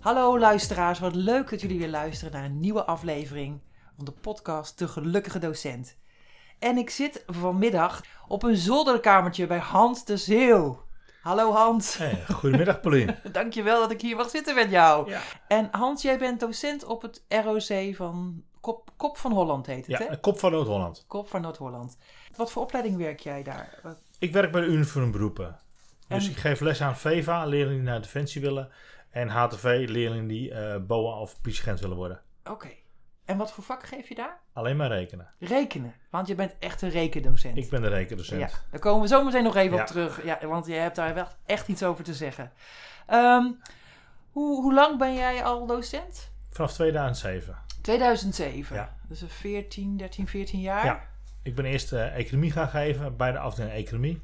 Hallo luisteraars, wat leuk dat jullie weer luisteren naar een nieuwe aflevering van de podcast De Gelukkige Docent. En ik zit vanmiddag op een zolderkamertje bij Hans de Zeeuw. Hallo Hans, Hey, goedemiddag, Paulien. dankjewel dat ik hier mag zitten met jou. Ja, En Hans, jij bent docent op het ROC van Kop, Kop van Holland heet het hè? ja kop van Noord-Holland. Kop van Noord-Holland. Wat voor opleiding werk jij daar? Wat- Ik werk bij de Uniform Beroepen. Dus En- ik geef les aan VEVA, leerlingen die naar Defensie willen. En HTV, leerlingen die eh, BOA of politieagent willen worden. Oké. En wat voor vak geef je daar? Alleen maar rekenen. Rekenen, want je bent echt een rekendocent. Ik ben de rekendocent. Ja, daar komen we zo meteen nog even Ja. op terug. Ja, want je hebt daar wel echt iets over te zeggen. Ehm, hoe, hoe lang ben jij al docent? Vanaf 2007. 2007. Ja. Dus een 14, 13, 14 jaar. Ja. Ik ben eerst eh, economie gaan geven bij de afdeling economie.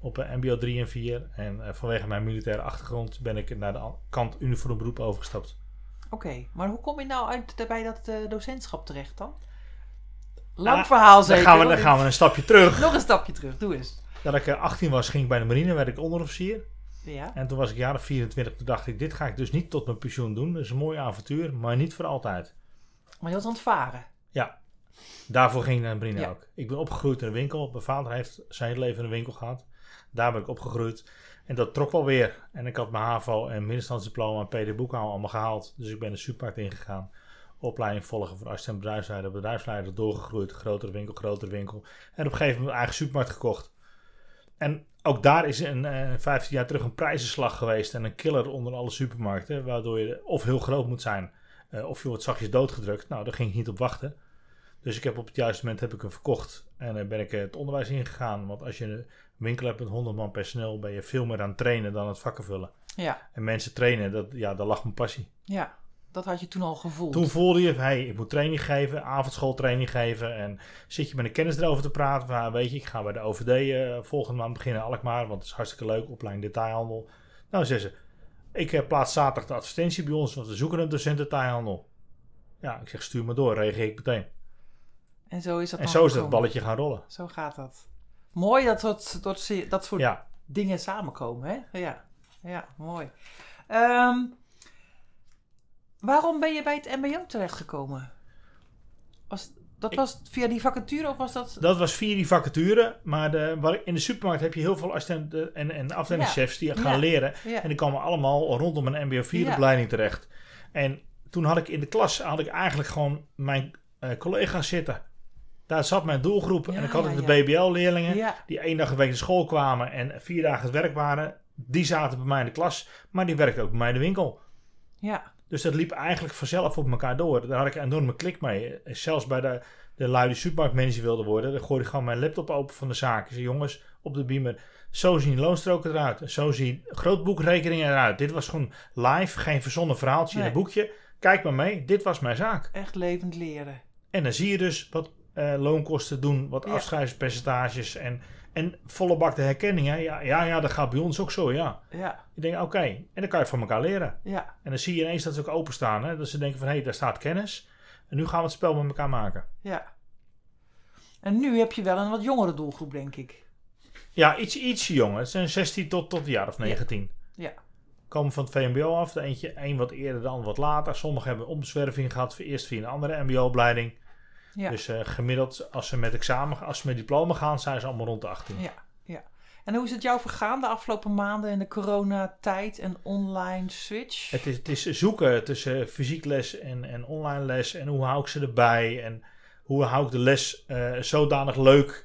Op eh, mbo 3 en 4. En eh, vanwege mijn militaire achtergrond ben ik naar de an- kant uniform beroep overgestapt. Oké, maar hoe kom je nou uit daarbij dat eh, docentschap terecht dan? Lang Ah, verhaal Dan zeker. gaan, we, dan want gaan we een stapje terug. ik- Nog een stapje terug, doe eens. Dat ik eh, 18 was, ging ik bij de marine, werd ik onderofficier. Ja, En toen was ik jaren 24, toen dacht ik, dit ga ik dus niet tot mijn pensioen doen. Dat is een mooi avontuur, maar niet voor altijd. maar je was aan het varen. Ja, daarvoor ging ik naar Brina Ja. ook. Ik ben opgegroeid in een winkel. Mijn vader heeft zijn hele leven in een winkel gehad. Daar ben ik opgegroeid. En dat trok wel weer. En ik had mijn HAVO en middenstandsdiploma en PD Boekhouden allemaal gehaald. Dus ik ben de supermarkt ingegaan. Opleiding volgen voor arts en bedrijfsleider. Bedrijfsleider doorgegroeid. Grotere winkel, grotere winkel. En op een gegeven moment mijn eigen supermarkt gekocht. En ook daar is een, eh 15 jaar terug een prijzenslag geweest. En een killer onder alle supermarkten. Waardoor je of heel groot moet zijn. eh, of je wordt zachtjes doodgedrukt. Nou, daar ging ik niet op wachten. Dus ik heb op het juiste moment heb ik hem verkocht. En eh, ben ik eh, het onderwijs ingegaan. Want als je een winkel hebt met 100 man personeel, ben je veel meer aan het trainen dan aan het vakken vullen. Ja, En mensen trainen, dat, ja, daar lag mijn passie. ja. Dat had je toen al gevoeld. Toen voelde je, hey, ik moet training geven, avondschooltraining geven. En zit je met een kennis erover te praten. Van, ah, weet je, ik ga bij de OVD eh, volgende maand beginnen in Alkmaar. Want het is hartstikke leuk, opleiding detailhandel. Nou, zei ze, ik eh, plaats zaterdag de advertentie bij ons, want we zoeken een docent detailhandel. Ja, ik zeg, stuur me door, reageer ik meteen. En zo is dat En dan zo is dat gekomen. balletje gaan rollen. Zo gaat dat. Mooi dat dat, dat, dat soort Ja. dingen samenkomen. Hè? Ja. ja, mooi. Ehm, waarom ben je bij het MBO terechtgekomen? Was, dat Ik- was via die vacature of was dat... Dat was via die vacature. Maar de, waar, in de supermarkt heb je heel veel assistenten en, en afdelingschefs die gaan Ja. leren. Ja. En die kwamen allemaal rondom een mbo 4 Ja. opleiding terecht. En toen had ik in de klas had ik eigenlijk gewoon mijn eh, collega's zitten. Daar zat mijn doelgroep. Ja, en ik had ja, ook de ja. BBL-leerlingen Ja, die één dag een week naar school kwamen en vier dagen het werk waren. Die zaten bij mij in de klas, maar die werkten ook bij mij in de winkel. ja, Dus dat liep eigenlijk vanzelf op elkaar door. Daar had ik een enorme klik mee. Zelfs bij de, de lui die supermarktmanager wilde worden, dan gooide ik gewoon mijn laptop open van de zaak. Ik zei, jongens, op de beamer, zo zien loonstroken eruit. En Zo zien grootboekrekeningen eruit. Dit was gewoon live, geen verzonnen verhaaltje in Nee. een boekje. Kijk maar mee, dit was mijn zaak. echt levend leren. En dan zie je dus wat eh, loonkosten doen, wat Ja. afschrijvingspercentages en, en volle bak de herkenning. Hè? Ja, ja, ja, dat gaat bij ons ook zo, ja. Ja, Ik denk, oké, en dan kan je van elkaar leren. ja, En dan zie je ineens dat ze ook openstaan. Hè? Dat ze denken van, hé, daar staat kennis. En nu gaan we het spel met elkaar maken. ja. En nu heb je wel een wat jongere doelgroep, denk ik. Ja, iets, ietsje jonger. Het zijn 16 tot, tot een jaar of 19. Ja. Komen van het VMBO af. De eentje, een wat eerder, de ander wat later. Sommigen hebben omzwerving gehad. voor- Eerst via een andere mbo-opleiding. Ja. Dus eh, gemiddeld, als ze met examen, als ze met diploma gaan, zijn ze allemaal rond de 18. Ja, ja. En hoe is het jou vergaan de afgelopen maanden in de coronatijd en online switch? Het is, het is zoeken tussen fysiek les en, en online les. En hoe hou ik ze erbij? En hoe hou ik de les eh, zodanig leuk?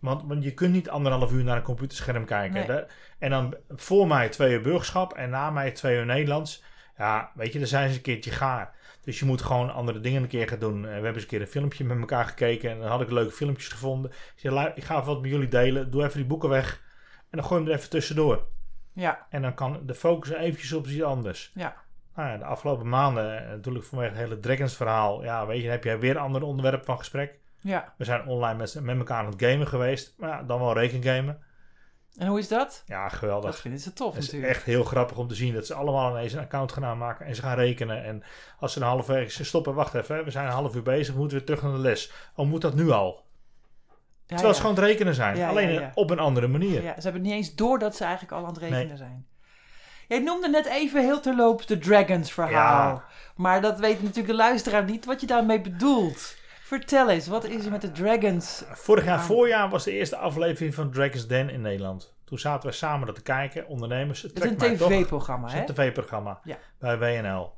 Want, want je kunt niet anderhalf uur naar een computerscherm kijken. Nee. Daar- en dan voor mij twee uur burgerschap en na mij twee uur Nederlands. Ja, weet je, dan zijn ze een keertje gaar. Dus je moet gewoon andere dingen een keer gaan doen. Eh, We hebben eens een keer een filmpje met elkaar gekeken. En dan had ik leuke filmpjes gevonden. Ik zei, "Lui, ik ga even wat met jullie delen. Doe even die boeken weg. En dan gooi je hem er even tussendoor. Ja, En dan kan de focus eventjes op iets anders. ja, nou ja, de afgelopen maanden, eh, natuurlijk vanwege het hele Dragons verhaal, ja, weet je, dan heb jij weer een ander onderwerp van gesprek. Ja. We zijn online met, z'n- met elkaar aan het gamen geweest, maar ja, dan wel rekengamen. En hoe is dat? Ja, Dat geweldig. vinden ze tof Het is natuurlijk. echt heel grappig om te zien dat ze allemaal ineens een account gaan aanmaken en ze gaan rekenen. En als ze een half uur ze stoppen, wacht even, hè, we zijn een half uur bezig, we moeten weer terug naar de les. Oh, moet dat nu al? Ja, Terwijl ja. ze gewoon het rekenen zijn, Ja, ja, alleen ja. op een andere manier. Ja, ze hebben het niet eens door dat ze eigenlijk al aan het rekenen Nee. zijn. Jij noemde net even heel terloops de Dragons verhaal. Ja. Maar dat weet natuurlijk de luisteraar niet wat je daarmee bedoelt. Vertel eens, wat is er met de Dragons? Vorig jaar Ja. voorjaar was de eerste aflevering van Dragon's Den in Nederland. Toen zaten we samen dat te kijken, ondernemers. Het Het is een trekt mij toch. tv-programma, hè? Het is een tv-programma Ja. bij WNL.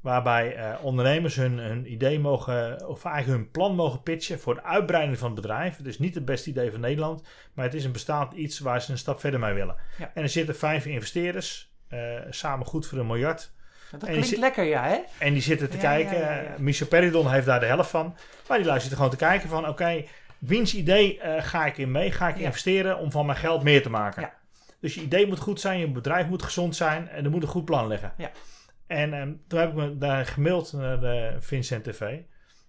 Waarbij eh, ondernemers hun, hun idee mogen, of eigenlijk hun plan mogen pitchen voor de uitbreiding van het bedrijf. Het is niet het beste idee van Nederland, maar het is een bestaand iets waar ze een stap verder mee willen. Ja. En er zitten vijf investeerders, eh, samen goed voor een miljard. Dat En je klinkt zit- lekker, ja, hè? En die zitten te Ja, kijken. ja, ja, ja. Michel Peridon heeft daar de helft van. Maar die lui zitten gewoon te kijken van... oké, wiens idee eh, ga ik in mee? Ga ik Ja. investeren om van mijn geld meer te maken? Ja. Dus je idee moet goed zijn, je bedrijf moet gezond zijn... en er moet een goed plan liggen. Ja. En ehm, toen heb ik me daar gemaild naar de Vincent TV.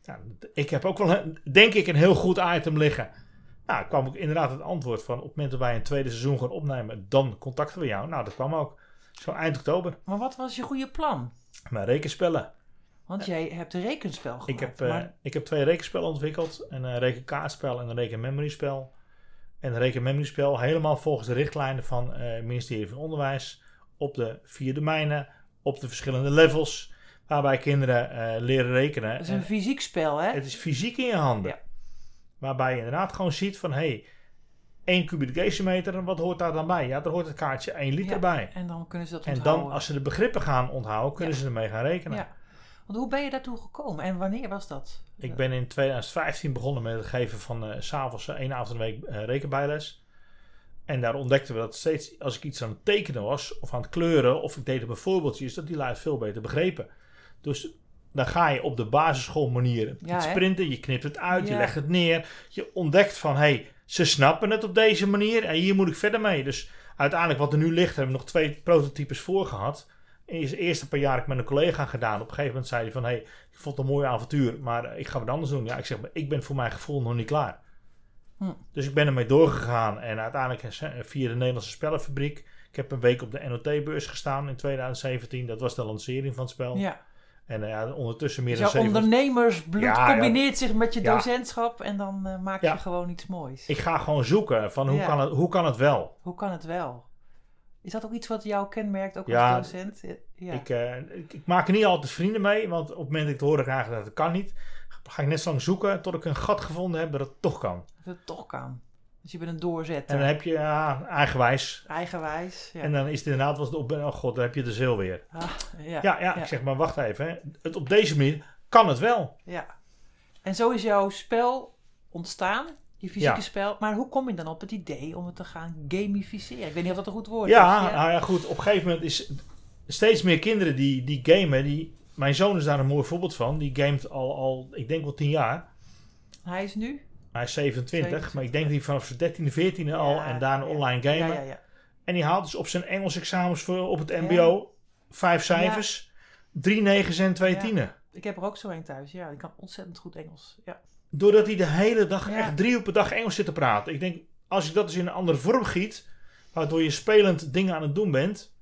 Nou, ik heb ook wel, een- denk ik, een heel goed item liggen. Nou, kwam ook inderdaad het antwoord van... op het moment dat wij een tweede seizoen gaan opnemen... dan contacten we jou. Nou, dat kwam ook. Zo eind oktober. Maar wat was je goede plan? Mijn rekenspellen. Want jij hebt een rekenspel gemaakt. Ik heb, eh, maar- ik heb twee rekenspellen ontwikkeld. Een eh, rekenkaartspel en een rekenmemoryspel. En een rekenmemoryspel helemaal volgens de richtlijnen van eh, het ministerie van Onderwijs. Op de vier domeinen, op de verschillende levels. Waarbij kinderen eh, leren rekenen. dat is En een fysiek spel, hè? het is fysiek in je handen. Ja. Waarbij je inderdaad gewoon ziet van... Hey, 1 kubieke decimeter, wat hoort daar dan bij? Ja, daar hoort het kaartje 1 liter Ja, bij. En dan kunnen ze dat En onthouden. dan, als ze de begrippen gaan onthouden, kunnen Ja. ze ermee gaan rekenen. Ja. Want hoe ben je daartoe gekomen? En wanneer was dat? Ik ben in 2015 begonnen met het geven van eh, s s'avonds één avond in de week eh, rekenbijles. En daar ontdekten we dat steeds als ik iets aan het tekenen was, of aan het kleuren, of ik deed het bijvoorbeeld, is dat die lui het veel beter begrepen. Dus dan ga je op de basisschoolmanier Ja, iets hè? printen, je knipt het uit, Ja. je legt het neer. Je ontdekt van, hé, hey, ze snappen het op deze manier en hier moet ik verder mee. Dus uiteindelijk wat er nu ligt, hebben we nog twee prototypes voor gehad. Eerst de eerste paar jaar heb ik met een collega gedaan. Op een gegeven moment zei hij van, hé, hey, ik vond het een mooi avontuur, maar eh, ik ga wat anders doen. Ja, ik zeg, maar ik ben voor mijn gevoel nog niet klaar. Hm. Dus ik ben ermee doorgegaan en uiteindelijk is, eh, via de Nederlandse Spellenfabriek. Ik heb een week op de NOT-beurs gestaan in 2017. Dat was de lancering van het spel. Ja. En eh, ja, ondertussen meer Dus dan jouw 700 ondernemersbloed Ja, ja. combineert zich met je Ja. docentschap en dan eh, maak je Ja. gewoon iets moois. Ik ga gewoon zoeken van hoe, Ja. kan, het, hoe kan het wel? Hoe kan het wel? Is dat ook iets wat jou kenmerkt, ook Ja. als docent? Ja. Ik, eh, ik, ik maak er niet altijd vrienden mee, want op het moment dat ik te horen krijg dat het kan niet, ga ik net zo lang zoeken tot ik een gat gevonden heb dat het toch kan. Dat het toch kan. Dus je bent een doorzetter. En dan heb je ja, eigenwijs. Eigenwijs. Ja. En dan is het inderdaad was het op, oh god, dan heb je de ziel weer. Ah, ja. Ja, ja, ja. ik zeg maar, wacht even. hè. Het, op deze manier kan het wel. ja. En zo is jouw spel ontstaan, je fysieke Ja. spel. Maar hoe kom je dan op het idee om het te gaan gamificeren? Ik weet niet of dat een goed woord Ja, is. nou ja, goed. Op een gegeven moment is steeds meer kinderen die, die gamen. Die, mijn zoon is daar een mooi voorbeeld van. Die gamet al, al ik denk wel tien jaar. Hij is nu? Hij is 27, 27. maar ik denk dat hij vanaf zijn 13e, 14e al Ja, en daarna ja. online Ja, gamen. ja, ja. En die haalt dus op zijn Engels examens voor, op het MBO vijf cijfers, drie negens en twee Ja. tienen. Ik heb er ook zo een thuis. Ja, die kan ontzettend goed Engels. Ja. Doordat hij de hele dag, Ja. echt drie uur per dag Engels zit te praten. Ik denk, als ik dat dus in een andere vorm giet, waardoor je spelend dingen aan het doen bent.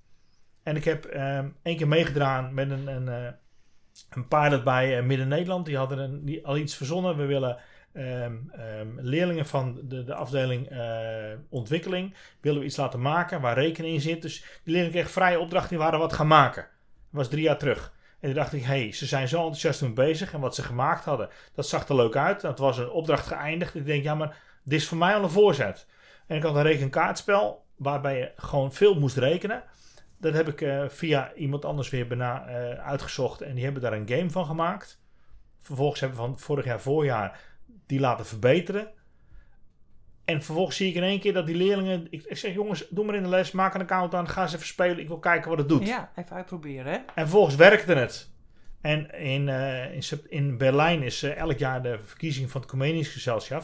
En ik heb ehm één keer meegedaan met een, een, eh, een pilot bij eh, Midden-Nederland. Die hadden een, die, al iets verzonnen. We willen ehm, ehm, leerlingen van de, de afdeling eh, ontwikkeling, willen we iets laten maken waar rekening in zit. Dus die leerlingen kregen vrije opdracht, die waren wat gaan maken. Dat was drie jaar terug. En toen dacht ik, hé, hey, ze zijn zo enthousiast mee bezig. En wat ze gemaakt hadden, dat zag er leuk uit. Dat was een opdracht geëindigd. Ik denk, ja, maar dit is voor mij al een voorzet. En ik had een rekenkaartspel waarbij je gewoon veel moest rekenen. Dat heb ik eh, via iemand anders weer bena- eh, uitgezocht. En die hebben daar een game van gemaakt. Vervolgens hebben we van vorig jaar voorjaar die laten verbeteren. En vervolgens zie ik in één keer dat die leerlingen... Ik, ik zeg, jongens, doe maar in de les, maak een account aan, ga eens even spelen. Ik wil kijken wat het doet. ja, even uitproberen. Hè? En vervolgens werkte het. En in, eh, in, sep- in Berlijn is eh, elk jaar de verkiezing van het Comenius Gezelschap.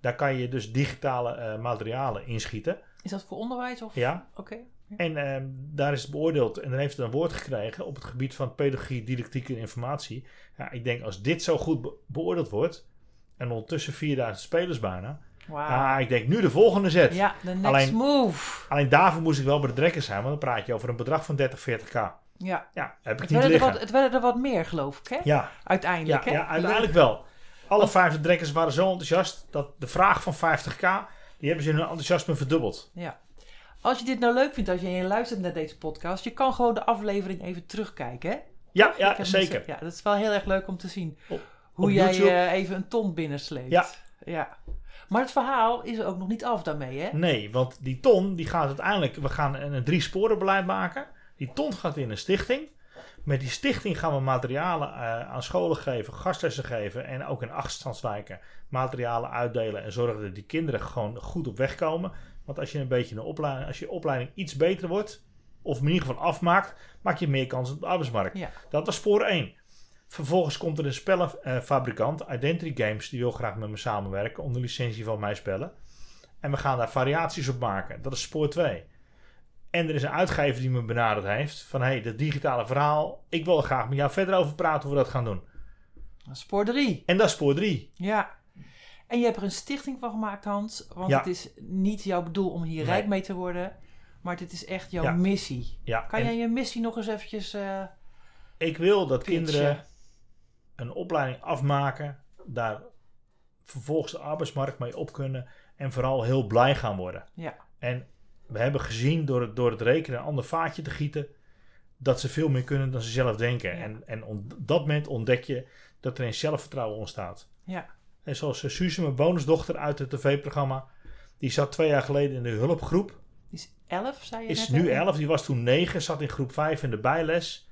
Daar kan je dus digitale eh, materialen inschieten. Is dat voor onderwijs? Of... Ja. Oké. En ehm, daar is het beoordeeld en dan heeft het een woord gekregen op het gebied van pedagogie, didactiek en informatie. Ja, ik denk als dit zo goed be- beoordeeld wordt en ondertussen 4000 spelers bijna. Wauw. Ah, ik denk nu de volgende zet. Ja, de next Alleen- move. Alleen daarvoor moest ik wel bij de drekker zijn, want dan praat je over een bedrag van 30, 40k. Ja. Ja, heb Het ik niet werden, er liggen. wat, het werden er wat meer, geloof ik, hè? Ja, ja, Uiteindelijk, hè? ja, uiteindelijk wel. Alle vijf de drekkers waren zo enthousiast dat de vraag van 50k, die hebben ze in hun enthousiasme verdubbeld. Ja. Als je dit nou leuk vindt, als je luistert naar deze podcast, je kan gewoon de aflevering even terugkijken, hè? Ja, Ik ja heb zeker. mensen- Ja, dat is wel heel erg leuk om te zien. Op- hoe op jij YouTube. eh, even een ton binnensleept. Ja. ja. Maar het verhaal is ook nog niet af daarmee, hè? Nee, want die ton die gaat uiteindelijk. We gaan een, een drie sporen beleid maken. Die ton gaat in een stichting. Met die stichting gaan we materialen eh, aan scholen geven, gastlessen geven en ook in achterstandswijken materialen uitdelen en zorgen dat die kinderen gewoon goed op weg komen. Want als je een beetje een opleiding, als je opleiding iets beter wordt, of in ieder geval afmaakt, maak je meer kans op de arbeidsmarkt. Ja. Dat was spoor 1. Vervolgens komt er een spellenfabrikant, eh, Identity Games, die wil graag met me samenwerken onder licentie van mijn spellen. En we gaan daar variaties op maken. Dat is spoor 2. En er is een uitgever die me benaderd heeft van hé, hey, dat digitale verhaal, ik wil er graag met jou verder over praten hoe we dat gaan doen. Spoor 3. En dat is spoor 3. Ja. En je hebt er een stichting van gemaakt, Hans. Want Ja. het is niet jouw bedoel om hier Nee. rijk mee te worden. Maar dit is echt jouw Ja. missie. Ja, Kan en jij je missie nog eens eventjes... eh, ik wil dat pitchen? kinderen een opleiding afmaken, daar vervolgens de arbeidsmarkt mee op kunnen en vooral heel blij gaan worden. Ja. En we hebben gezien door het, door het rekenen een ander vaatje te gieten, dat ze veel meer kunnen dan ze zelf denken. Ja. En, en op dat moment ontdek je dat er een zelfvertrouwen ontstaat. Ja. En zoals eh, Suze, mijn bonusdochter uit het tv-programma, die zat twee jaar geleden in de hulpgroep Die is 11, zei je is net, hè? nu 11, die was toen 9, zat in groep 5 in de bijles.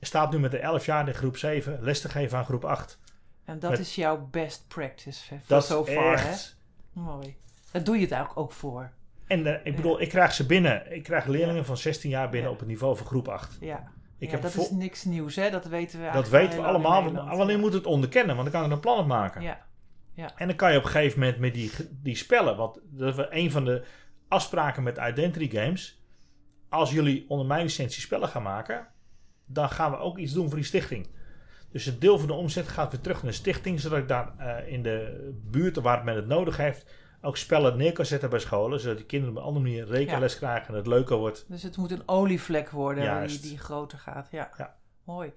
Staat nu met de 11 jaar in groep 7 les te geven aan groep 8. En dat Met- is jouw best practice. hè, Dat voor so is far, echt. hè? Mooi. Daar doe je het eigenlijk ook voor. En eh, ik bedoel, ik krijg ze binnen. Ik krijg leerlingen van 16 jaar binnen Ja. op het niveau van groep 8. Ja. Ik ja, heb dat vol- is niks nieuws, hè? Dat weten we dat eigenlijk al weten we heel lang in allemaal. Nederland. Alleen moet het onderkennen, want dan kan er een plan op maken. Ja. En dan kan je op een gegeven moment met die, ge- die spellen. Want dat was een van de afspraken met Identity Games. Als jullie onder mijn licentie spellen gaan maken, dan gaan we ook iets doen voor die stichting. Dus een deel van de omzet gaat weer terug naar de stichting, zodat ik daar eh, in de buurten waar men het nodig heeft, ook spellen neer kan zetten bij scholen. Zodat die kinderen op een andere manier rekenles krijgen en het leuker wordt. Dus het moet een olievlek worden die, Juist. die groter gaat. Ja. Ja. mooi.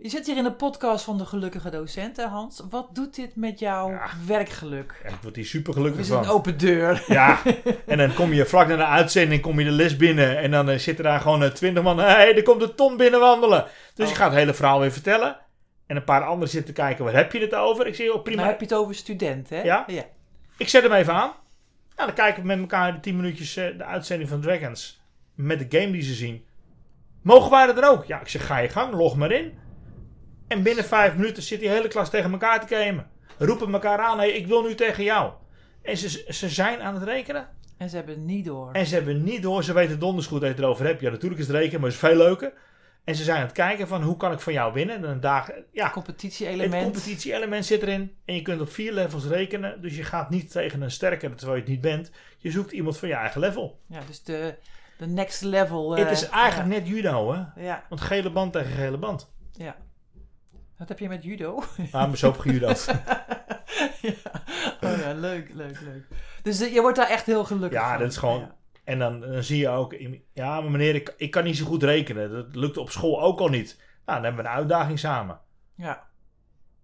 Je zit hier in de podcast van de gelukkige docenten, Hans. Wat doet dit met jouw Ja. werkgeluk? En ik word hier super Er gelukkig is een van. open deur. Ja, en dan kom je vlak na de uitzending kom je de les binnen. En dan eh, zitten daar gewoon twintig man. Hé, hey, er komt een ton binnen wandelen. Dus Oh. je gaat het hele verhaal weer vertellen. En een paar anderen zitten kijken. Waar heb je het over? Ik zeg, oh prima. Maar heb je het over studenten, hè? Ja. ja. Ik zet hem even aan. Nou, dan kijken we met elkaar de tien minuutjes eh, de uitzending van Dragons. Met de game die ze zien. Mogen wij dat er ook? Ja, ik zeg, ga je gang. Log maar in. En binnen vijf minuten zit die hele klas tegen elkaar te gamen. Roepen elkaar aan. Hé, hey, ik wil nu tegen jou. En ze, ze zijn aan het rekenen. En ze hebben het niet door. En ze hebben niet door, ze weten donders goed dat je het erover hebt. Ja, natuurlijk is het rekenen, maar het is veel leuker. En ze zijn aan het kijken van hoe kan ik van jou winnen. En een dag, ja, het Competitie-element. competitie-element zit erin. En je kunt op vier levels rekenen. Dus je gaat niet tegen een sterker terwijl je het niet bent. Je zoekt iemand van je eigen level. Ja, dus de, de next level. eh, het is eigenlijk net judo, hè? Ja, ja, Want gele band tegen gele band. ja. Wat heb je met judo? Ah, maar zo op gejudo. ja. Oh ja, leuk, leuk, leuk. Dus eh, je wordt daar echt heel gelukkig Ja, van. dat is gewoon- En dan, dan zie je ook, in- ja, maar meneer, ik, ik kan niet zo goed rekenen. Dat lukt op school ook al niet. Nou, dan hebben we een uitdaging samen. Ja.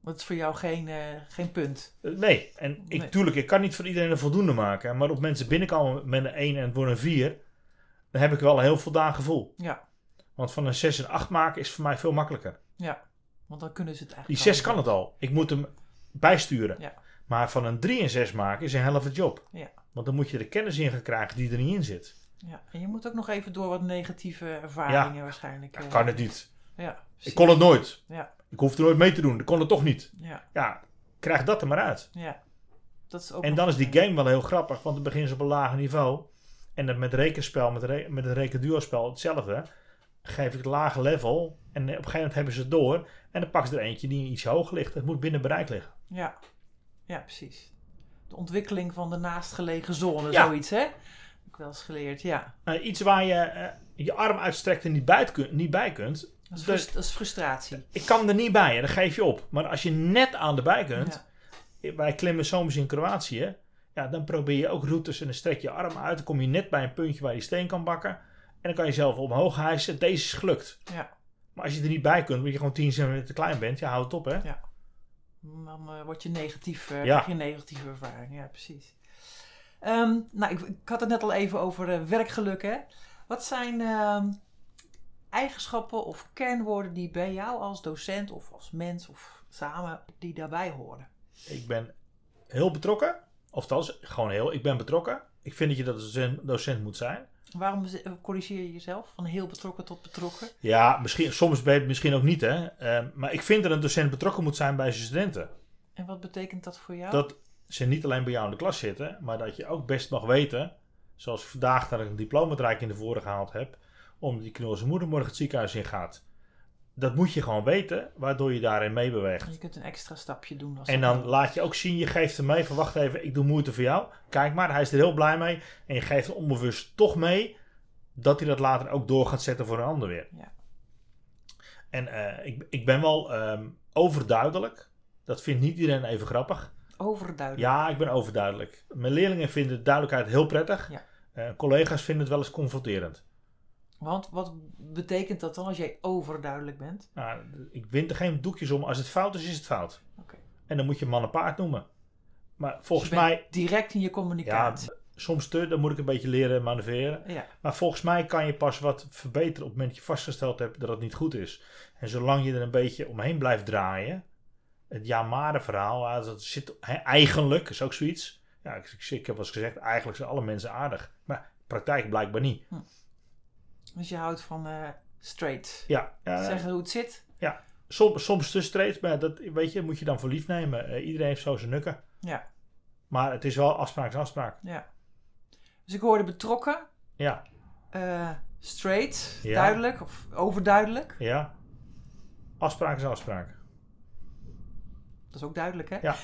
Dat is voor jou geen, eh, geen punt. Eh, Nee, en ik, Nee. tuurlijk, ik kan niet voor iedereen een voldoende maken. Maar op mensen binnenkomen met een 1 en het wordt een 4, dan heb ik wel een heel voldaan gevoel. Ja. Want van een 6 en 8 maken is voor mij veel makkelijker. Want dan kunnen ze het Die eigenlijk 6 al. kan het al. Ik moet hem bijsturen. Ja. Maar van een 3 en 6 maken is een helft job. Ja. Want dan moet je de kennis in gaan krijgen die er niet in zit. Ja. En je moet ook nog even door wat negatieve ervaringen waarschijnlijk. Ja, eh, kan het niet. Ja, Ik precies. kon het nooit. Ja. Ik hoefde nooit mee te doen. Ik kon het toch niet. ja, Ja, krijg dat er maar uit. ja. Dat is ook En nog dan is die een- game wel heel grappig, want het begint op een lager niveau. En dan met rekenspel, met, re met het rekenduo-spel hetzelfde. Geef ik het lage level. En op een gegeven moment hebben ze het door. En dan pakken ze er eentje die iets hoger ligt. Het moet binnen bereik liggen. Ja. ja, precies. De ontwikkeling van de naastgelegen zone, Ja. zoiets hè. ook wel eens geleerd, ja. Eh, iets waar je eh, je arm uitstrekt en niet bij, kunt, niet bij kunt. Dat is, Dus- frust- dat is frustratie. Ik kan er niet bij en dan geef je op. Maar als je net aan de bij kunt, wij klimmen soms in Kroatië, ja, dan probeer je ook routes en dan strek je je arm uit. Dan kom je net bij een puntje waar je steen kan bakken. En dan kan je zelf omhoog hijsen. Deze is gelukt. Ja, ja. Maar als je er niet bij kunt, omdat je gewoon 10 centimeter te klein bent, ja, houd het op hè. Dan eh, word je negatief, eh, Ja. krijg je een negatieve ervaring. Ja, precies. Ehm, nou, ik, ik had het net al even over eh, werkgeluk, hè. Wat zijn ehm, eigenschappen of kernwoorden die bij jou als docent of als mens of samen, die daarbij horen? Ik ben heel betrokken. Of dat gewoon heel. Ik ben betrokken. Ik vind dat je dat als docent, docent moet zijn. Waarom z- corrigeer je jezelf van heel betrokken tot betrokken? Ja, misschien, soms ben je het misschien ook niet, hè. Ehm, maar ik vind dat een docent betrokken moet zijn bij zijn studenten. En wat betekent dat voor jou? Dat ze niet alleen bij jou in de klas zitten, maar dat je ook best mag weten, zoals vandaag dat ik een diploma-uitreiking naar voren gehaald heb, omdat die knul zijn moeder morgen het ziekenhuis in gaat. Dat moet je gewoon weten, waardoor je daarin meebeweegt. Je kunt een extra stapje doen. Als En dat dan laat je ook zien, je geeft hem mee van wacht even, ik doe moeite voor jou. Kijk maar, hij is er heel blij mee. En je geeft hem onbewust toch mee dat hij dat later ook door gaat zetten voor een ander weer. Ja. En eh, ik, ik ben wel ehm, overduidelijk. Dat vindt niet iedereen even grappig. Overduidelijk. Ja, ik ben overduidelijk. Mijn leerlingen vinden duidelijkheid heel prettig. Ja. Eh, collega's vinden het wel eens confronterend. Want wat betekent dat dan als jij overduidelijk bent? Nou, ik wind er geen doekjes om. Als het fout is, is het fout. Oké. En dan moet je man en paard noemen. Maar volgens Dus je mij bent Direct in je communicatie. soms te, dan moet ik een beetje leren manoeuvreren. Ja. Maar volgens mij kan je pas wat verbeteren op het moment dat je vastgesteld hebt dat het niet goed is. En zolang je er een beetje omheen blijft draaien, het ja-maren verhaal, ah, dat zit hè, eigenlijk, is ook zoiets. Ja, ik, ik, ik heb wel eens gezegd, eigenlijk zijn alle mensen aardig. Maar praktijk blijkbaar niet. Dus je houdt van eh, straight. Ja, ja, Zeggen hoe het zit. soms, soms te streed, maar dat weet je, moet je dan voor lief nemen. Eh, iedereen heeft zo zijn nukken. Ja. Maar het is wel afspraak is afspraak. Dus ik hoorde betrokken, Ja, eh, straight, Ja. duidelijk of overduidelijk. ja. Afspraak is afspraak. Dat is ook duidelijk, hè? Ja.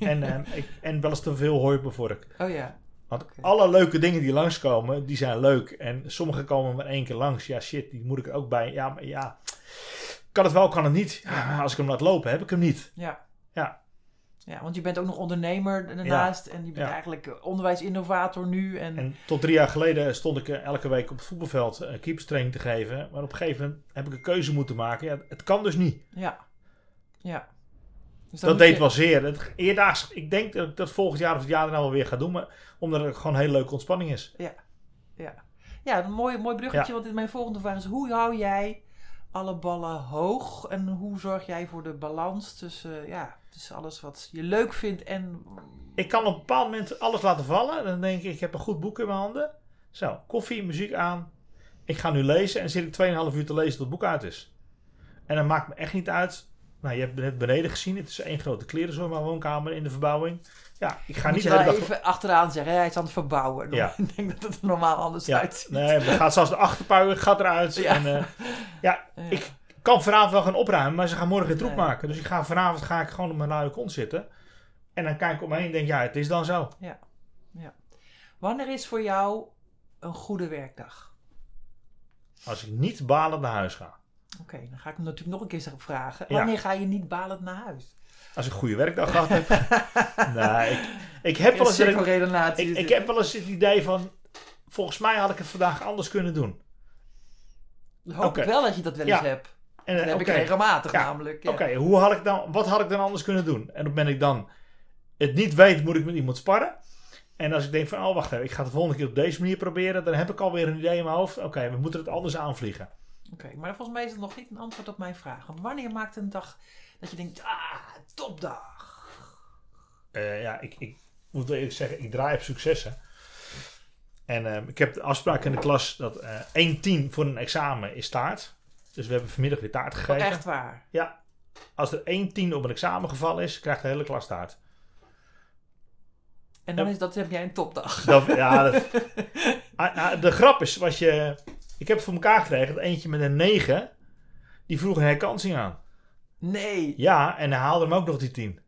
En, ehm, ik, en wel eens te veel hooi op mijn vork. Oh ja. Want Oké. alle leuke dingen die langskomen, die zijn leuk. En sommige komen maar één keer langs. Ja, shit, die moet ik er ook bij. Ja, maar ja. Kan het wel, kan het niet. Ja, maar als ik hem laat lopen, heb ik hem niet. Ja. Ja. Ja, want je bent ook nog ondernemer daarnaast. En je bent Ja. eigenlijk eh, onderwijsinnovator nu. En, En tot drie jaar geleden stond ik eh, elke week op het voetbalveld eh, keeperstraining te geven. Maar op een gegeven moment heb ik een keuze moeten maken. Ja, het kan dus niet. ja. Ja. Dus dan dat moet deed je- wel zeer. Het, eerdaags, ik denk dat ik dat volgend jaar of het jaar daarna wel weer ga doen. Maar omdat het gewoon een hele leuke ontspanning is. Ja, een mooi, mooi bruggetje, want mijn volgende vraag is: hoe hou jij alle ballen hoog en hoe zorg jij voor de balans tussen, eh, ja, tussen alles wat je leuk vindt en. Ik kan op een bepaald moment alles laten vallen. Dan denk ik, ik heb een goed boek in mijn handen. Zo, koffie, muziek aan. Ik ga nu lezen en zit ik 2,5 uur te lezen tot het boek uit is. En dat maakt me echt niet uit. Nou, je hebt het net beneden gezien. Het is één grote klerenzooi in mijn woonkamer in de verbouwing. Ja, ik ga Moet niet je de hele wel dag... even achteraan zeggen, hè, hij is aan het verbouwen. Ja. Ik denk dat het er normaal anders Ja, uitziet. nee, dan gaat zelfs de achterpuier gaat eruit. Ja. En, eh, Ja. ik- kan vanavond wel gaan opruimen, maar ze gaan morgen het troep Nee. maken. Dus ik ga vanavond ga ik gewoon op mijn luie kont zitten. En dan kijk ik om me heen en denk, ja, het is dan zo. Wanneer is voor jou een goede werkdag? Als ik niet balend naar huis ga. Oké, dan ga ik hem natuurlijk nog een keer vragen. Ja. Wanneer ga je niet balend naar huis? Als ik een goede werkdag gehad heb. nee, ik, ik, heb wel eens, dat ik, cirkelredenatie. ik, ik heb wel eens het idee van... Volgens mij had ik het vandaag anders kunnen doen. Hoop Oké. ik wel dat je dat wel eens Ja. hebt. En, Dat eh, heb Oké, ik regelmatig Ja. namelijk. ja. oké, hoe had ik dan, wat had ik dan anders kunnen doen? En op het moment dat ik dan het niet weet, moet ik met iemand sparren. En als ik denk van, oh wacht even, ik ga het de volgende keer op deze manier proberen. Dan heb ik alweer een idee in mijn hoofd. Oké, we moeten het anders aanvliegen. Oké, maar volgens mij is het nog niet een antwoord op mijn vraag. Want wanneer maakt een dag dat je denkt, ah, topdag. Eh, ja, ik, ik moet eerlijk zeggen, ik draai op successen. En ehm, ik heb de afspraak in de klas dat eh 1 10 voor een examen is taart. Dus we hebben vanmiddag weer taart Oh, gegeten. echt waar. Als er 1 10 op een examengeval is, krijgt de hele klas taart. En dan is dat, heb jij een topdag. Dat, ja, dat- Ah, ah, de grap is, was je, ik heb het voor elkaar gekregen dat eentje met een 9, die vroeg een herkansing aan. Nee, Ja, en hij haalde hem ook nog die 10.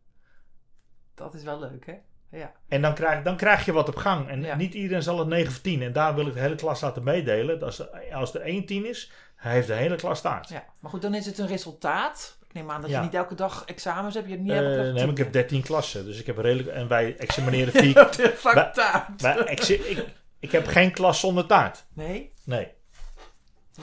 dat is wel leuk, hè? ja. En dan krijg, dan krijg je wat op gang. En Ja. niet iedereen zal het 9 of 10. En daar wil ik de hele klas laten meedelen. Dat als, als er één 10 is, hij heeft de hele klas staart. ja. Maar goed, dan is het een resultaat. Ik neem aan dat Ja. je niet elke dag examens hebt. Je hebt niet Eh, elke dag nee, maar ik heb 13 klassen. Dus ik heb redelijk... En wij examineren vier... de factaat. maar ex- ik, ik heb geen klas zonder taart. Nee? Nee.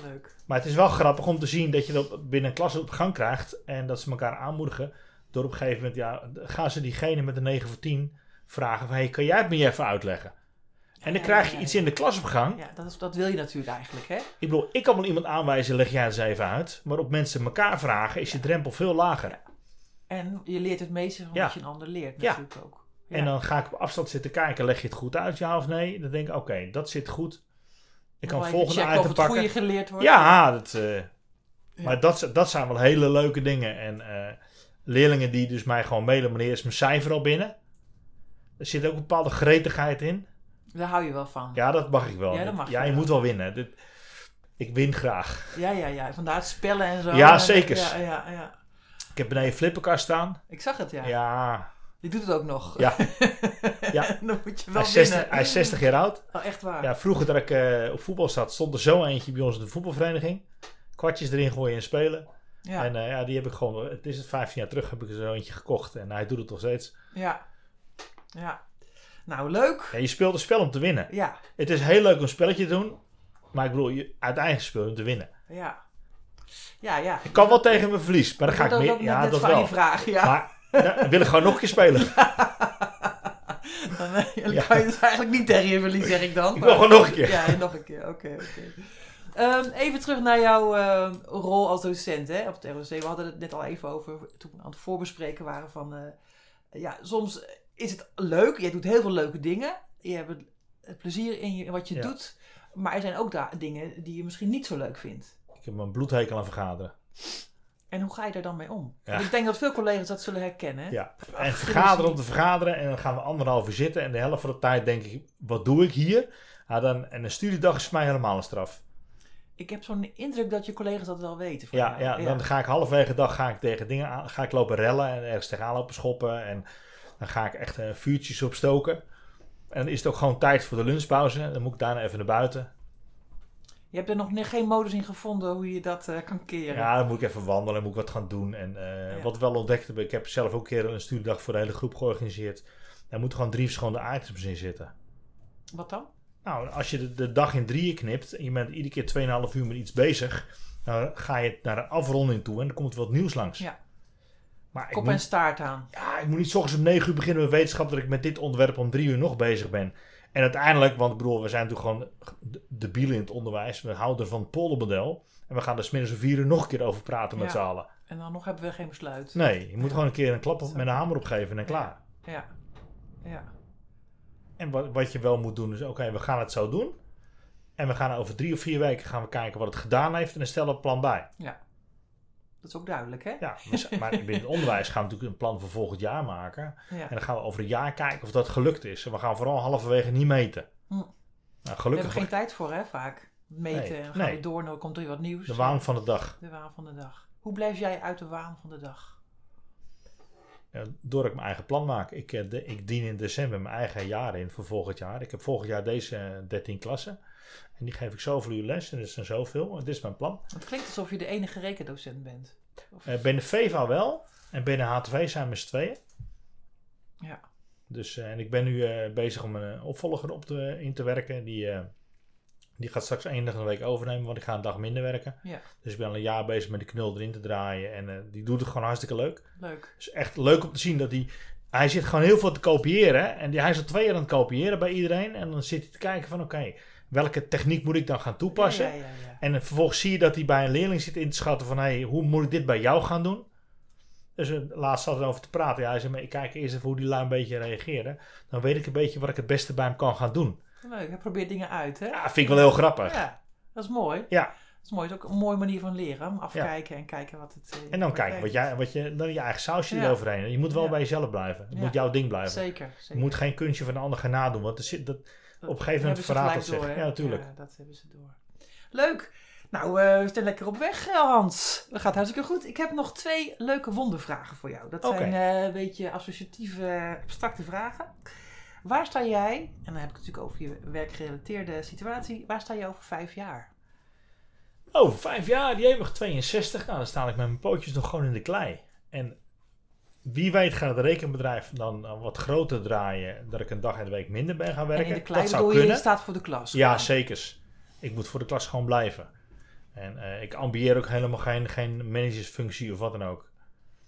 Leuk. Maar het is wel grappig om te zien dat je dat binnen een klas op gang krijgt. En dat ze elkaar aanmoedigen. Door op een gegeven moment, ja, gaan ze diegene met de 9 of 10 vragen van... Hé, hey, kan jij het me even uitleggen? En dan Ja, krijg ja, je iets ja. in de klas op gang. Ja, dat, is, dat wil je natuurlijk eigenlijk, hè? Ik bedoel, ik kan wel iemand aanwijzen, leg jij eens even uit. Maar op mensen elkaar vragen is je drempel veel lager. Ja. En je leert het meeste van Ja. wat je een ander leert Ja. natuurlijk ook. Ja. En dan ga ik op afstand zitten kijken, leg je het goed uit, ja of nee? Dan denk ik, oké, dat zit goed. Ik kan Nog het even volgende checken item of het goede pakken. geleerd wordt. Ja, dat, eh, maar dat, dat zijn wel hele leuke dingen. En eh, leerlingen die dus mij gewoon mailen, meneer, is mijn cijfer al binnen? Er zit ook een bepaalde gretigheid in. Daar hou je wel van. Ja, Ja, dat mag ik wel. Ja, dat mag ja je je wel. moet wel winnen. Dit, ik win graag. ja, ja. Vandaar het spellen en zo. Ja, En- zeker. Ja, ja, ja. Ik heb beneden een flipperkast staan. Ik zag het, ja. ja Je doet het ook nog. Ja. ja. Ja. dan moet je Hij wel is, 60, winnen. hij is 60 jaar oud. Oh, echt waar. Ja, vroeger dat ik eh, op voetbal zat, stond er zo eentje bij ons in de voetbalvereniging. Kwartjes erin gooien en spelen. Ja. En eh, ja, die heb ik gewoon, het is het 15 jaar terug, heb ik er zo eentje gekocht. En hij doet het nog steeds. ja. Ja. Nou, leuk. Ja, je speelt een spel om te winnen. Ja. Het is heel leuk om een spelletje te doen. Maar ik bedoel, je, uiteindelijk speel je om te winnen. Ja. Ja, ja. Ik kan wel tegen mijn verlies, maar dan ga ik dat meer. Ja, net dat van die wel. vraag, ja. Maar dan wil ik gewoon nog een keer spelen. Dan eh, dan Ja. kan je dus eigenlijk niet tegen je verliezen, zeg ik dan. Ik maar- wil gewoon nog een keer. Ja, nog een keer. Oké, oké. Ehm, even terug naar jouw eh, rol als docent hè, op het ROC. We hadden het net al even over toen we aan het voorbespreken waren van... eh, ja, soms is het leuk. Jij doet heel veel leuke dingen. Je hebt het- het plezier in, je, in wat je Ja. doet. Maar er zijn ook da- dingen die je misschien niet zo leuk vindt. Ik heb mijn bloedhekel aan vergaderen. En hoe ga je daar dan mee om? Ja. Want Ik denk dat veel collega's dat zullen herkennen. Ja, en vergaderen om te vergaderen. En dan gaan we anderhalf uur zitten. En de helft van de tijd denk ik, wat doe ik hier? Ja, dan, en een studiedag is voor mij helemaal een straf. Ik heb zo'n indruk dat je collega's dat wel weten. van Ja, jou. ja, dan ga ik halverwege de dag ga ik tegen dingen aan, ga ik lopen rellen en ergens tegenaan lopen schoppen. En dan ga ik echt eh, vuurtjes opstoken. En dan is het ook gewoon tijd voor de lunchpauze. Dan moet ik daarna even naar buiten. Je hebt er nog ne- geen modus in gevonden hoe je dat eh, kan keren. Ja, dan moet ik even wandelen, dan moet ik wat gaan doen. En eh, Ja. wat ik wel ontdekt heb, ik heb zelf ook een keer een studiedag voor de hele groep georganiseerd. Daar moeten gewoon drie verschillende items in zitten. Wat dan? Nou, als je de, de dag in drieën knipt en je bent iedere keer 2,5 uur met iets bezig, dan ga je naar een afronding toe en dan komt er wat nieuws langs. Ja. Maar ik Kop en moet, staart aan. ja, ik moet niet 's ochtends om 9 uur beginnen met wetenschap dat ik met dit onderwerp om 3 uur nog bezig ben. En uiteindelijk, want ik bedoel, we zijn natuurlijk gewoon de- debielen in het onderwijs. We houden van het poldermodel. En we gaan er smiddags om 4 uur nog een keer over praten met Ja. z'n allen. En dan nog hebben we geen besluit. Nee, je moet gewoon een keer een klap op, Zo. met een hamer opgeven en klaar. Ja. Ja. En wat, wat je wel moet doen is, oké, we gaan het zo doen. En we gaan over drie of vier weken gaan we kijken wat het gedaan heeft. En dan stellen we een plan bij. Dat is ook duidelijk, hè? Ja, maar s- maar binnen het onderwijs gaan we natuurlijk een plan voor volgend jaar maken. Ja. En dan gaan we over een jaar kijken of dat gelukt is. En we gaan vooral halverwege niet meten. Hm. Nou, We gelukkig hebben geen tijd voor, hè, vaak. Meten Nee, en dan gaan nee. we door en dan komt er weer wat nieuws. de waan van de dag. De waan van de dag. Hoe blijf jij uit de waan van de dag? Ja, Door ik mijn eigen plan maak. Ik, eh, de- ik dien in december mijn eigen jaar in voor volgend jaar. Ik heb volgend jaar deze eh, 13 klassen. En die geef ik zoveel uur les. En dat zijn zoveel. En dit is mijn plan. Het klinkt alsof je de enige rekendocent bent. Of- Eh, binnen VEVA wel. En binnen H2 zijn we z'n tweeën. Ja. Dus, eh, en ik ben nu eh, bezig om een eh, opvolger op te, in te werken. Die, eh, die gaat straks één dag in de week overnemen, want ik ga een dag minder werken. Ja. Dus ik ben al een jaar bezig met de knul erin te draaien. En eh, die doet het gewoon hartstikke leuk. Leuk. Dus echt leuk om te zien dat hij... Hij zit gewoon heel veel te kopiëren. En die, hij is al twee jaar aan het kopiëren bij iedereen. En dan zit hij te kijken van oké, welke techniek moet ik dan gaan toepassen? Ja, ja, ja, ja. En vervolgens zie je dat hij bij een leerling zit in te schatten van... Hey, hoe moet ik dit bij jou gaan doen? Dus eh, laatst zat erover te praten. Ja, hij zei, maar ik kijk eerst even hoe die lui een beetje reageren. Dan weet ik een beetje wat ik het beste bij hem kan gaan doen. Leuk. Hij probeert dingen uit, hè? Ja, vind ik wel heel grappig. Ja. Dat is mooi. Ja. Dat is mooi. Dat is ook een mooie manier van leren. Afkijken en kijken wat het... eh, En dan kijken werkt. wat, jij, wat je... Dan je eigen sausje Ja. eroverheen. Je moet wel Ja. bij jezelf blijven. Het Ja. moet jouw ding blijven. Zeker, Je zeker. moet geen kunstje van de ander gaan nadoen. Want er zit, dat, op een gegeven moment hebben ze verraadt gelijk dat zich. door, hè? Ja, natuurlijk. dat hebben ze door. Leuk. Nou, eh, we zijn lekker op weg, eh, Hans. Dat gaat hartstikke goed. Ik heb nog twee leuke wondervragen voor jou. Dat Oké. zijn eh, een beetje associatieve, eh, abstracte vragen. Waar sta jij, en dan heb ik het natuurlijk over je werkgerelateerde situatie, waar sta jij over vijf jaar? Oh, vijf jaar, jemig 62. Nou, dan sta ik met mijn pootjes nog gewoon in de klei. En wie weet gaat het rekenbedrijf dan eh, wat groter draaien, dat ik een dag en de week minder ben gaan werken. en in de kleine dat zou bedoel je, kunnen. je staat voor de klas. Ja, zekers. Ik moet voor de klas gewoon blijven. En eh, ik ambieer ook helemaal geen, geen managersfunctie of wat dan ook.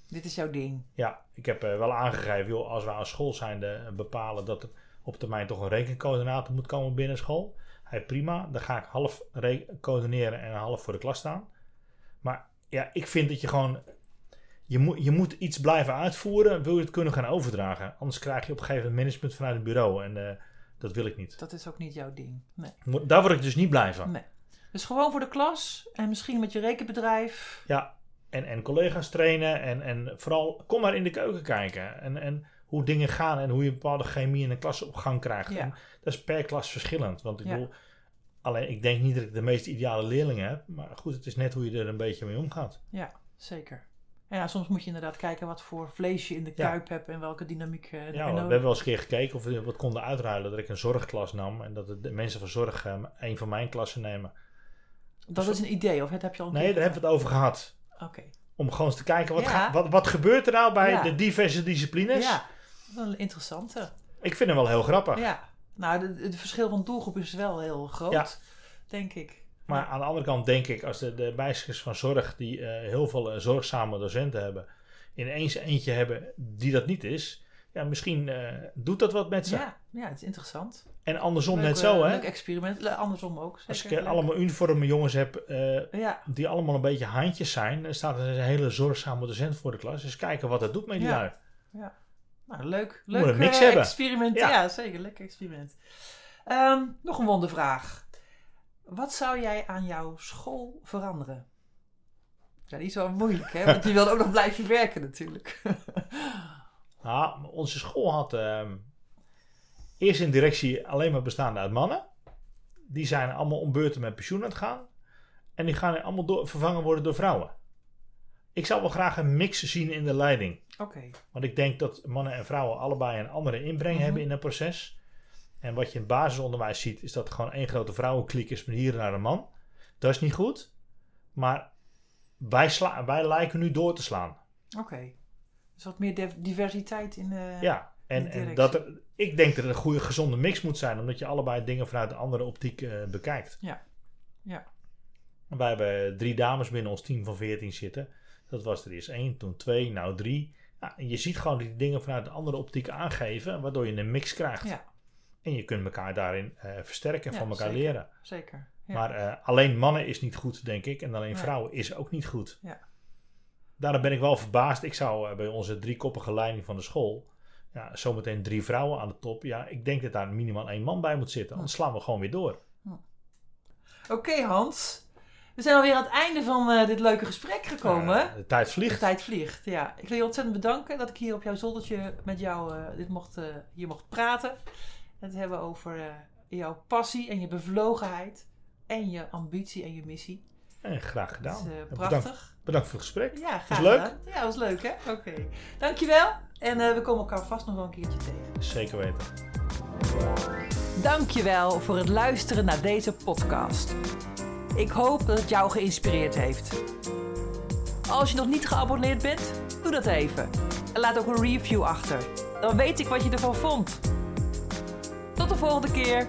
Dit is jouw ding. Ja, ik heb eh, wel aangegeven, joh, als we aan school zijnde eh, bepalen dat er op termijn toch een rekencoördinator moet komen binnen school. Hij prima, dan ga ik half re- coördineren en half voor de klas staan. Maar ja, ik vind dat je gewoon, je, moet je moet iets blijven uitvoeren, wil je het kunnen gaan overdragen. Anders krijg je op een gegeven moment management vanuit het bureau en eh, dat wil ik niet. Dat is ook niet jouw ding. Nee. Mo- Daar word ik dus niet blij van. nee. Dus gewoon voor de klas en misschien met je rekenbedrijf. Ja, en, en collega's trainen en, en vooral kom maar in de keuken kijken. En, en hoe dingen gaan en hoe je bepaalde chemie in een klas op gang krijgt. Ja. En dat is per klas verschillend. Want ik Ja. bedoel, alleen ik denk niet dat ik de meest ideale leerling heb. Maar goed, het is net hoe je er een beetje mee omgaat. Ja, zeker. En ja, soms moet je inderdaad kijken wat voor vlees je in de Ja. kuip hebt en welke dynamiek eh, heb je Ja, we nodig hebben wel eens een keer gekeken of we wat konden uitruilen. Dat ik een zorgklas nam en dat de- de mensen van zorg eh, een van mijn klassen nemen. Dat is een idee, of het heb je al een Nee, keer daar hebben we het over gehad. gedaan? Oké. Om gewoon eens te kijken, wat, Ja. ga- wat, wat gebeurt er nou bij Ja. de diverse disciplines? Ja, wel een interessante. Ik vind hem wel heel grappig. Ja. Nou, de- het verschil van doelgroep is wel heel groot, Ja. denk ik. Maar aan de andere kant denk ik, als de, de meisjes van zorg, die eh, heel veel eh, zorgzame docenten hebben, ineens eentje hebben die dat niet is, ja, misschien eh, doet dat wat met ze. Ja, ja, het is interessant. En andersom Leuk, net eh, zo, hè? Leuk experiment. Le- Andersom ook, zeker. als ik eh, Leuk. allemaal uniforme jongens heb eh, Ja, die allemaal een beetje handjes zijn, dan staat er een hele zorgzame docent voor de klas. Dus kijken wat dat doet met die Ja. lui. nou, leuk. Moet Leuk een mix eh, hebben. experiment. Ja. Ja. zeker. Lekker experiment. Ehm, nog een wondervraag. Wat zou jij aan jouw school veranderen? Ja, die is wel moeilijk, hè? Want je wilde ook nog blijven werken natuurlijk. Nou, onze school had ehm, eerst in directie alleen maar bestaande uit mannen. Die zijn allemaal om beurten met pensioen aan het gaan. En die gaan allemaal door, vervangen worden door vrouwen. Ik zou wel graag een mix zien in de leiding. Oké. Want ik denk dat mannen en vrouwen allebei een andere inbreng Mhm. hebben in het proces. En wat je in het basisonderwijs ziet, is dat er gewoon één grote vrouwenkliek is van hier naar een man. Dat is niet goed. Maar wij, sla- wij lijken nu door te slaan. Oké. Dus wat meer div- diversiteit in. eh, Ja, en, Met en directie. dat er, ik denk dat er een goede, gezonde mix moet zijn, omdat je allebei dingen vanuit een andere optiek eh, bekijkt. Ja. Ja. En Wij hebben drie dames binnen ons team van 14 zitten. Dat was er eerst één, toen twee, nou drie. Ja, en je ziet gewoon die dingen vanuit een andere optiek aangeven, waardoor je een mix krijgt. Ja. En je kunt elkaar daarin eh, versterken, Ja, van elkaar zeker. leren. Zeker. Ja. Maar eh, alleen mannen is niet goed, denk ik. En alleen Nee. vrouwen is ook niet goed. Ja. Daarom ben ik wel verbaasd. Ik zou eh, bij onze driekoppige leiding van de school... Ja, zometeen drie vrouwen aan de top. Ja, ik denk dat daar minimaal één man bij moet zitten. Anders slaan we gewoon weer door. Oké, Hans. We zijn alweer aan het einde van eh, dit leuke gesprek gekomen. Eh, de tijd de vliegt. tijd vliegt, ja. Ik wil je ontzettend bedanken dat ik hier op jouw zoldertje met jou eh, dit mocht, eh, hier mocht praten. Het hebben over eh, jouw passie en je bevlogenheid. En je ambitie en je missie. En graag gedaan. Dat is eh, En Nou, bedankt, prachtig. bedankt voor het gesprek. Ja, graag leuk. gedaan. Ja, was leuk hè? Oké. Dankjewel. En eh, we komen elkaar vast nog wel een keertje tegen. Zeker weten. Dankjewel voor het luisteren naar deze podcast. Ik hoop dat het jou geïnspireerd heeft. Als je nog niet geabonneerd bent, doe dat even. En laat ook een review achter. Dan weet ik wat je ervan vond. Tot de volgende keer.